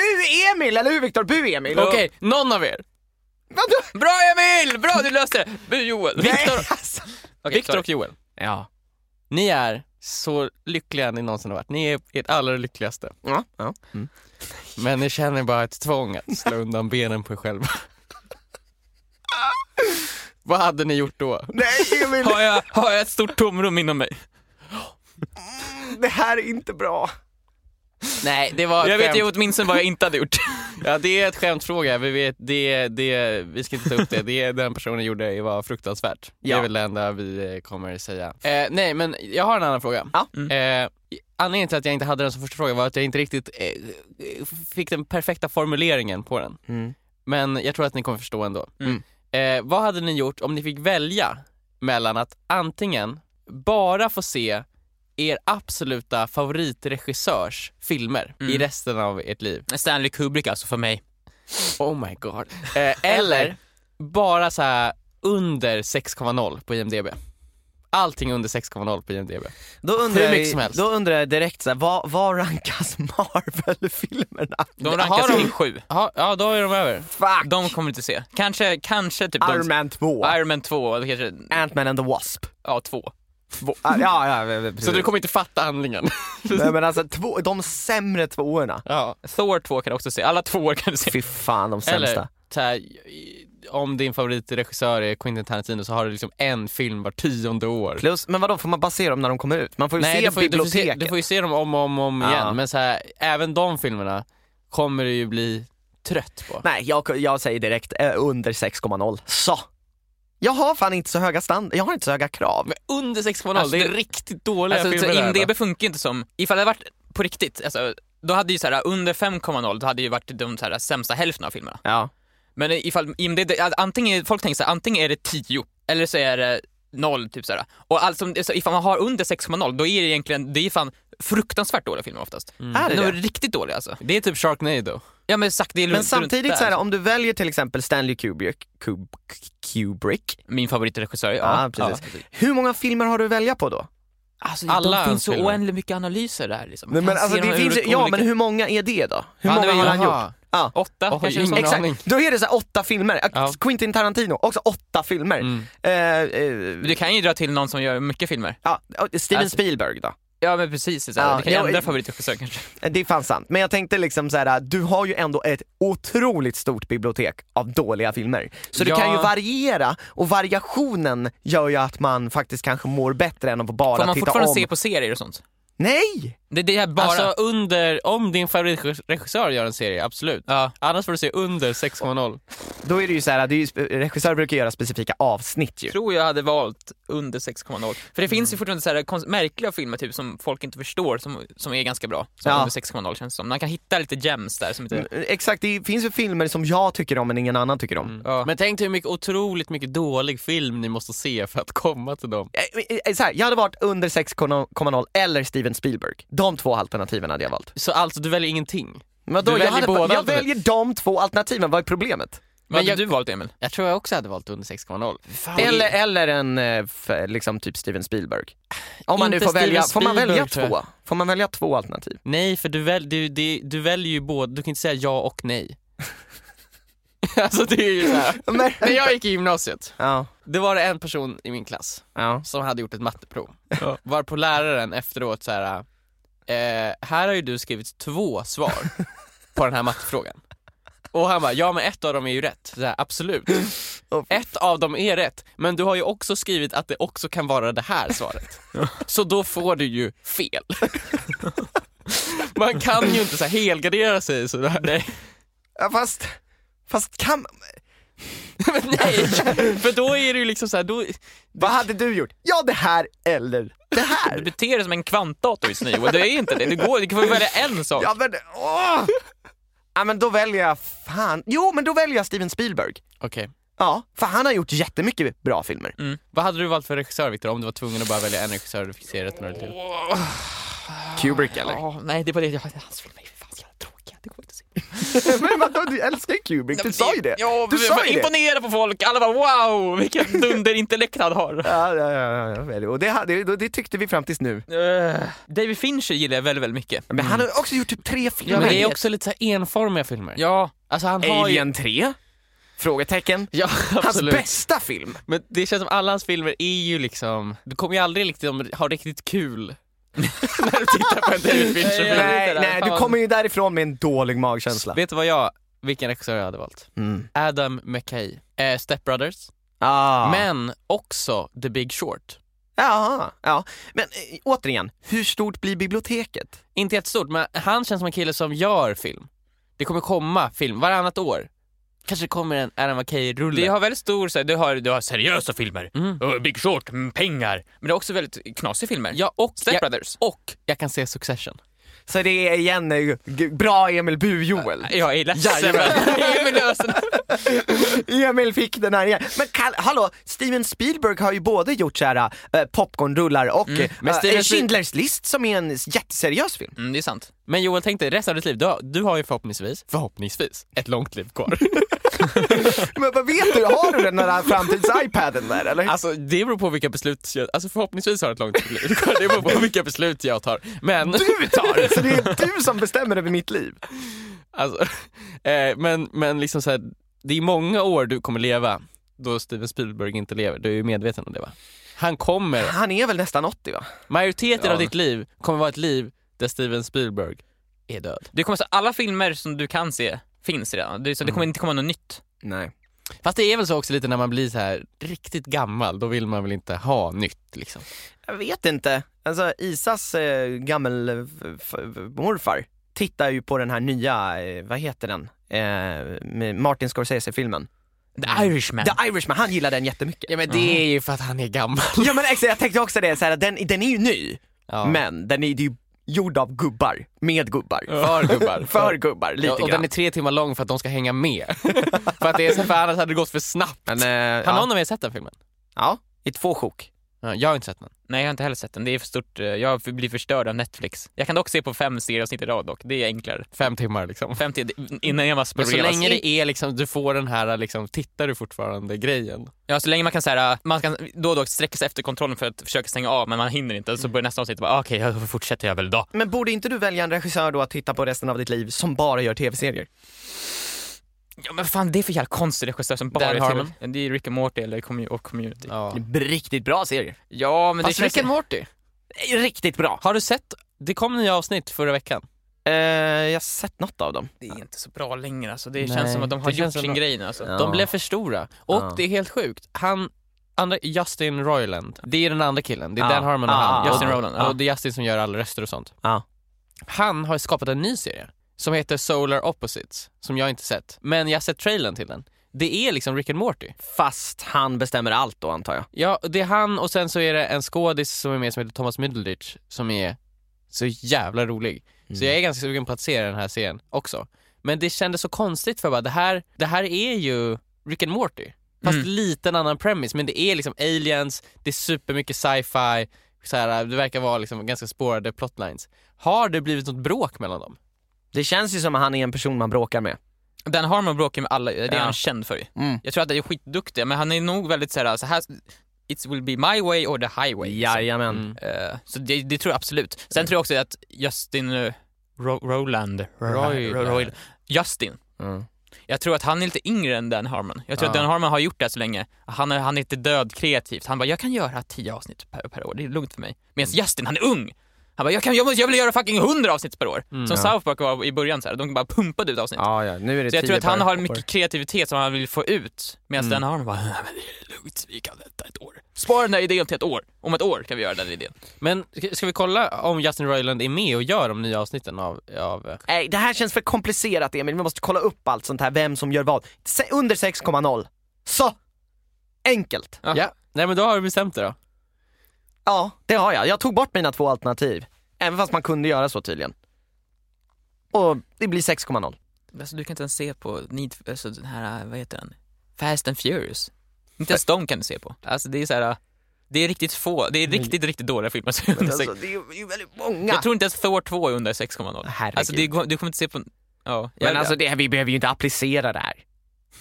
Emil! Eller hur Viktor? Bu Emil! Okej, någon av er. Vadå? Bra Emil! Bra du löste det! Bu Joel. Nej, Viktor alltså. Viktor och Joel. Ja. Ni är så lyckliga ni någonsin har varit. Ni är ert allra lyckligaste. Ja, ja. Mm. [LAUGHS] Men ni känner bara ett tvång att slå undan benen på er själva. [LAUGHS] Vad hade ni gjort då? Nej Emil! har jag, har jag ett stort tomrum inom mig? Mm, [LAUGHS] det här är inte bra. Nej, det var ett Jag vet ju skämt. åtminstone vad jag inte hade gjort. Ja, det är ett skämtfråga. Vi, vet, det, det, vi ska inte ta upp det. det den personen gjorde var fruktansvärt. Det Ja. är väl det enda vi eh, kommer säga. Eh, nej, men jag har en annan fråga. Ja. Eh, anledningen till att jag inte hade den som första fråga var att jag inte riktigt eh, eh, fick den perfekta formuleringen på den. Mm. Men jag tror att ni kommer förstå ändå. Mm. Eh, vad hade ni gjort om ni fick välja mellan att antingen bara få se er absoluta favoritregissörs filmer i resten av ert liv? Mm. Stanley Kubrick alltså för mig. Oh my god. Eh, [LAUGHS] eller bara så här under 6,0 på IMDB. Allting under 6,0 på IMDB. Då undrar, Hur mycket jag- som helst. då undrar jag direkt, så här, vad, vad rankas [LAUGHS] Marvel-filmerna? De Har rankas de- kring sju. Ja, ja, då är de över. Fuck! De kommer inte se. Kanske, kanske typ Iron Man 2, de... Iron Man 2, eller kanske, Ant-Man and the Wasp. ja två. Två. Ah, Ja, ja, ja, precis. Så du kommer inte fatta handlingen. [LAUGHS] Nej, men alltså, två, de sämre tvåorna. ja. Thor 2 kan du också se, alla tvåor kan du se. Fy fan, de sämsta. Eller så här, i- om din favoritregissör är Quentin Tarantino så har du liksom en film var tionde år. Plus, men vadå, får man bara se dem när de kommer ut? Man får ju se du får, ju- du, får se, biblioteket. du får ju se dem om och om, och om Ja. igen. Men så här, även de filmerna kommer du ju bli trött på. Nej, jag, jag säger direkt eh, under 6,0. Så! Jag har fan inte så höga stand jag har inte så höga krav. Men under 6,0, Alltså, det är det- riktigt dåliga Alltså, så filmer. det här, IMDB funkar ju inte som, ifall det hade varit på riktigt, alltså, då hade ju så här, under 5,0 då hade ju varit de så här, sämsta hälften av filmerna. Ja. Men ifall IMDB, antingen, folk tänker så här, antingen är det 10 eller så är det 0 typ så här. Och alltså, så ifall man har under 6,0 då är det egentligen, det är fan fruktansvärt dåliga filmer oftast. Mm. Är det de är det? riktigt dåliga alltså. Det är typ Sharknado. Ja men sagt, det är Men runt- runt samtidigt där. så här, om du väljer till exempel Stanley Kubrick, Kub, Kubrick Min favoritregissör, ja. ja, precis. hur många filmer har du att välja på då? Alltså, Alla Alla det hans finns så filmer. oändligt mycket analyser där liksom. Nej, men Han alltså, ser det dem finns, ur ju- ja, olika- men hur många är det då? Hur Ja, många det var har han ju- gjort? Ja. Åtta Oj, kanske ingen det står. aning. Exakt, då är det så här åtta filmer. Eh, Ja. Quentin Tarantino, också åtta filmer. Mm. Eh, eh, Du kan ju dra till någon som gör mycket filmer. ja, Steven Alltså- Spielberg då? Ja men precis, det, Ja, ja, det kan ju ja, ändra eh, favoritregissör kanske. Det är fan sant. Men jag tänkte liksom så här, du har ju ändå ett otroligt stort bibliotek av dåliga filmer. Så du Ja. kan ju variera och variationen gör ju att man faktiskt kanske mår bättre än att bara Får man titta fortfarande om. se på serier och sånt? Nej! Det, det är bara... Alltså under, om din favoritregissör gör en serie, absolut. ja. Annars får du se under 6,0. Då är det ju så här, det är ju, spe- regissörer brukar göra specifika avsnitt ju. Jag tror jag hade valt under 6,0. För det finns ju fortfarande så här konst- märkliga filmer typ, som folk inte förstår som, som är ganska bra. Som Ja. under 6,0 känns det som. Man kan hitta lite gems där som inte... Mm, Exakt, det finns ju filmer som jag tycker om men ingen annan tycker om. Ja. Men tänk dig hur mycket otroligt mycket dålig film ni måste se för att komma till dem. Eh, eh, eh, Så här, jag hade varit under 6,0 eller Steven Spielberg. De två alternativen hade jag valt. Så alltså, du väljer ingenting? Men Du då, jag, väljer hade, båda jag alternativ. väljer de två alternativen, vad är problemet? Vad hade jag- du valt Emil? Jag tror jag också hade valt under 6,0. Eller, eller en eh, f- liksom typ Steven Spielberg. Om man nu Inte får välja, Steven får man välja Spielberg, tror två? Får man välja [LAUGHS] två alternativ? Nej, för du, väl, du, det, du väljer ju både, du kan inte säga ja och [LAUGHS] nej. alltså det är ju så här. Men, När jag gick i gymnasiet, ja, det var det en person i min klass ja. som hade gjort ett matteprov. [LAUGHS] Varpå läraren efteråt så här, eh, här har ju du skrivit två svar på den här mattefrågan. Och han bara, ja men ett av dem är ju rätt. Så här, absolut. Ett av dem är rätt, men du har ju också skrivit att det också kan vara det här svaret. Så då får du ju fel. Man kan ju inte så här helgardera sig sådär. [LAUGHS] Nej. Ja, Fast, fast kan, Nej, för då är det ju liksom så här, då, vad hade du gjort? Ja det här eller det Du här. beter dig som en kvantdator just nu och det är inte det. Du, går, du får ju välja en sak. Ja men åh! Ja men då väljer jag fan, jo men då väljer jag Steven Spielberg. okej. Ja, Mm. för han har gjort jättemycket bra filmer. Vad hade du valt för regissör Victor om du var tvungen att bara välja en regissör du fick se resten av ditt liv? Kubrick eller? Ja, nej, det var det. Ja, hans filmer är fan så jävla tråkiga. Det går inte att se. [LAUGHS] men vadå, du älskar ju Kubrick, du sa ju det. Ja, Du vi sa var ju det. imponerade på folk. Alla bara wow, vilket [LAUGHS] dunderintellekt han har. Ja, ja, ja, ja, väldigt. och det, hade- det, det tyckte vi fram tills nu. Eh, David Fincher gillar jag väldigt, väldigt mycket. Men han har också gjort typ tre filmer. Ja, men det är också lite så här enformiga filmer. Ja, Alltså han har ju... Alien 3? Frågetecken. Ja, Hans absolut. bästa film. Men det känns som alla hans filmer är ju liksom, du kommer ju aldrig liksom ha riktigt kul när du tittar på en David Fincher-film. Nej, det där. nej, du Fan. kommer ju därifrån med en dålig magkänsla. Vet du vad jag, vilken regissör jag hade valt? Mm. Adam McKay, eh, Step Brothers, Ah. men också The Big Short. Ja, ja. Men eh, återigen, hur stort blir biblioteket? Inte jättestort, men han känns som en kille som gör film. Det kommer komma film varannat år. Kanske det kommer en Adam McKay-rulle. Det har väldigt stor, så här, du, har, du har seriösa filmer, Mm. och Big Short, mm, pengar. Men det är också väldigt knasiga filmer. Ja, och Step jag, Brothers. och jag kan se Succession. Så det är igen eh, g- bra Emil Bu-Joel. Jag är ledsen [LAUGHS] men Emil Ösen. Emil fick den här igen. Men kall- hallå, Steven Spielberg har ju både gjort så här, eh, popcornrullar och mm. men Steven Spiel- Schindler's list som är en jätteseriös film. Mm, det är sant. Men Joel, tänk dig resten av ditt liv, du har, du har ju förhoppningsvis, förhoppningsvis, ett långt liv kvar. Men vad vet du, har du den där framtids-iPaden där eller? [LAUGHS] Alltså det beror på vilka beslut jag, alltså förhoppningsvis har jag ett långt liv kvar. Det beror på vilka beslut jag tar. Men, du tar! Så det är du som bestämmer över mitt liv. alltså, eh, men, men liksom så här, det är många år du kommer leva då Steven Spielberg inte lever. Du är ju medveten om det va? Han kommer, Han är väl nästan 80 va? majoriteten Ja. av ditt liv kommer vara ett liv där Steven Spielberg är död. Det kommer, så, alla filmer som du kan se finns redan. Det, är så, det kommer inte komma något nytt. Nej. Fast det är väl så också lite när man blir så här riktigt gammal, då vill man väl inte ha nytt liksom. Jag vet inte. Alltså Isas eh, gammel eh, f- f- morfar tittar ju på den här nya, eh, vad heter den? Eh, med Martin Scorsese-filmen. The Irishman. The Irishman, han gillar den jättemycket. Ja men det är ju för att han är gammal. [LAUGHS] Ja men exakt, jag tänkte också det, så här, den, den är ju ny, Ja. men den är ju gjord av gubbar, med gubbar. För gubbar. [LAUGHS] För gubbar, lite Ja, och grann. den är tre timmar lång för att de ska hänga [LAUGHS] med. för att det är så, för annars hade det gått för snabbt. Men, har eh, någon ja. av er sett den filmen? ja, i två sjok. Ja, jag har inte sett den. Nej, jag har inte heller sett den. Det är för stort. eh, Jag blir förstörd av Netflix. Jag kan dock se på fem serieavsnitt i rad dock. Det är enklare. Fem timmar liksom. 50 innan jag var Men så sporeras. länge det är liksom, du får den här liksom, tittar du fortfarande grejen? Ja, så länge man kan, så här, äh, man kan då och då sträcka sig efter kontrollen för att försöka stänga av, men man hinner inte. Så börjar nästa avsnitt bara, okej, okay, då fortsätter jag väl då. Men borde inte du välja en regissör då att titta på resten av ditt liv som bara gör tv-serier? Ja, men fan, det är för jävla konstig regissör som bara Dan är Harmon. till- Det är Rick and Morty eller commu- och Community. Ja, Ja. Riktigt bra serier. men Fast det känns... Rick and Morty, Eh, Riktigt bra. har du sett? Det kom nya avsnitt förra veckan. Eh, jag har sett något av dem. Det är inte så bra längre alltså. Det Nej, känns som att de har det känns gjort som sin att- grej nu alltså. Ja. De blev för stora. Och Ja. det är helt sjukt, han, andra, Justin Roiland, det är den andra killen, det är Ja. Ah, Dan Harmon och Ja, han. ja, Justin Och- Roiland, ja. Och det är Justin som gör alla röster och sånt. Ja. Han har skapat en ny serie som heter Solar Opposites, som jag inte sett. Men jag har sett trailern till den. Det är liksom Rick and Morty. Fast han bestämmer allt då antar jag. Ja, det är han och sen så är det en skådis som är med som heter Thomas Middleditch som är så jävla rolig. Så jag är ganska sugen på att se den här serien också. Men det kändes så konstigt för bara, det här, det här är ju Rick and Morty. Fast Mm. lite en annan premise, men det är liksom aliens, det är supermycket sci-fi, så här, det verkar vara liksom ganska spårade plotlines. Har det blivit något bråk mellan dem? Det känns ju som att han är en person man bråkar med. Dan Harmon bråkar med alla, det är Ja. han känd för ju. Mm. Jag tror att han är skitduktig, men han är nog väldigt så här, så här it will be my way or the highway. liksom. Jajamän. Mm. Eh, så det, det tror jag absolut. Mm. Sen tror jag också att Justin eh, Ro- Roland, Roy- Ro- Roy- Justin, Mm. jag tror att han är lite yngre än Dan Harmon. Jag tror att Ja. Dan Harmon har gjort det här så länge. Han är, han är inte död kreativt. Han bara, jag kan göra tio avsnitt per, per år, det är lugnt för mig. Medan Mm. Justin, han är ung. Han bara, jag, kan, jag, måste, jag vill göra fucking hundra avsnitt per år. som South Park var i början, så här. de bara pumpade ut avsnitt. Mm, Ja, ja. Nu är det Så jag tio tror att han per har år. Mm. mycket kreativitet som han vill få ut. Medan Dan Harmon bara, "Nej, men det är lugnt, vi kan vänta ett år. Spara den där idén till ett år. Om ett år kan vi göra den idén. Men ska- ska vi kolla om Justin Roiland är med och gör de nya avsnitten av... av eh, Nej, det här känns för komplicerat Emil, vi måste kolla upp allt sånt här, vem som gör vad. Se- Under 6,0. Så! Enkelt. Ja. ja, nej men då har du bestämt det då. Ja, det har jag. Jag tog bort mina två alternativ. Även fast man kunde göra så tydligen. Och det blir 6,0. Alltså, du kan inte ens se på Need, alltså, den här, vad heter den? Fast and Furious. Inte ens dem kan du se på. Alltså det är så här. Det är riktigt få, det är riktigt, riktigt dåliga filmer som är under Alltså, sex- det är ju väldigt många. Jag tror inte ens Thor 2 är under 6,0. Herregud. Alltså det, går- du kommer inte se på, ja. jag- Men alltså det, vi behöver ju inte applicera det här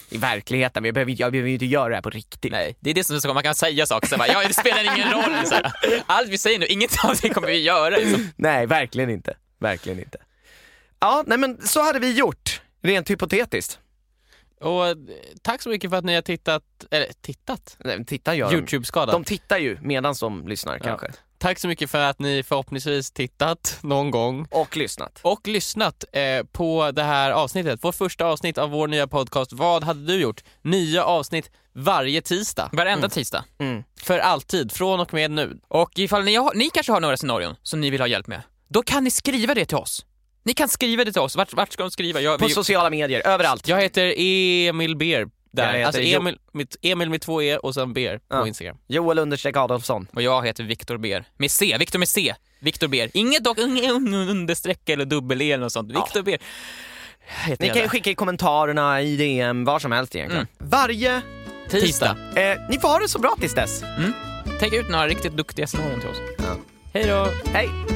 i verkligheten. Vi behöver, jag behöver ju inte göra det här på riktigt. Nej, det är det som är så man kan säga saker så här, bara, ja det spelar ingen roll. Så här. Allt vi säger nu, inget av det kommer vi göra. Liksom. Nej, verkligen inte. Verkligen inte. Ja, nej men så hade vi gjort, rent hypotetiskt. Och eh, tack så mycket för att ni har tittat, eller tittat? Nej, men Titta gör de. Youtube-skadan. De tittar ju medan de lyssnar kanske. Tack så mycket för att ni förhoppningsvis tittat någon gång Och lyssnat. och lyssnat eh, på det här avsnittet. Vårt första avsnitt av vår nya podcast Vad hade du gjort? Nya avsnitt varje tisdag. Mm. Varenda tisdag. För alltid, från och med nu. Och ifall ni, har, ni kanske har några scenarion som ni vill ha hjälp med, då kan ni skriva det till oss. Ni kan skriva det till oss. Vart, vart ska de skriva? Jag, På vi, sociala medier, överallt. Jag heter Emil Beer. Jag Där. heter alltså Jo- Emil, mitt, Emil med två E och sen Beer Ja. på Instagram. Joel understreck Adolfsson. och jag heter Viktor Ber. Med C. Viktor med C. Viktor Ber. Inget dock inget understreck eller dubbel E eller något sånt. Viktor Ber. Ni kan ju skicka i kommentarerna, i DM, var som helst egentligen. Mm. Varje... Tisdag. Eh, ni får ha det så bra tills dess. Tänk ut några riktigt duktiga scenarion till oss. Hej då! Hej!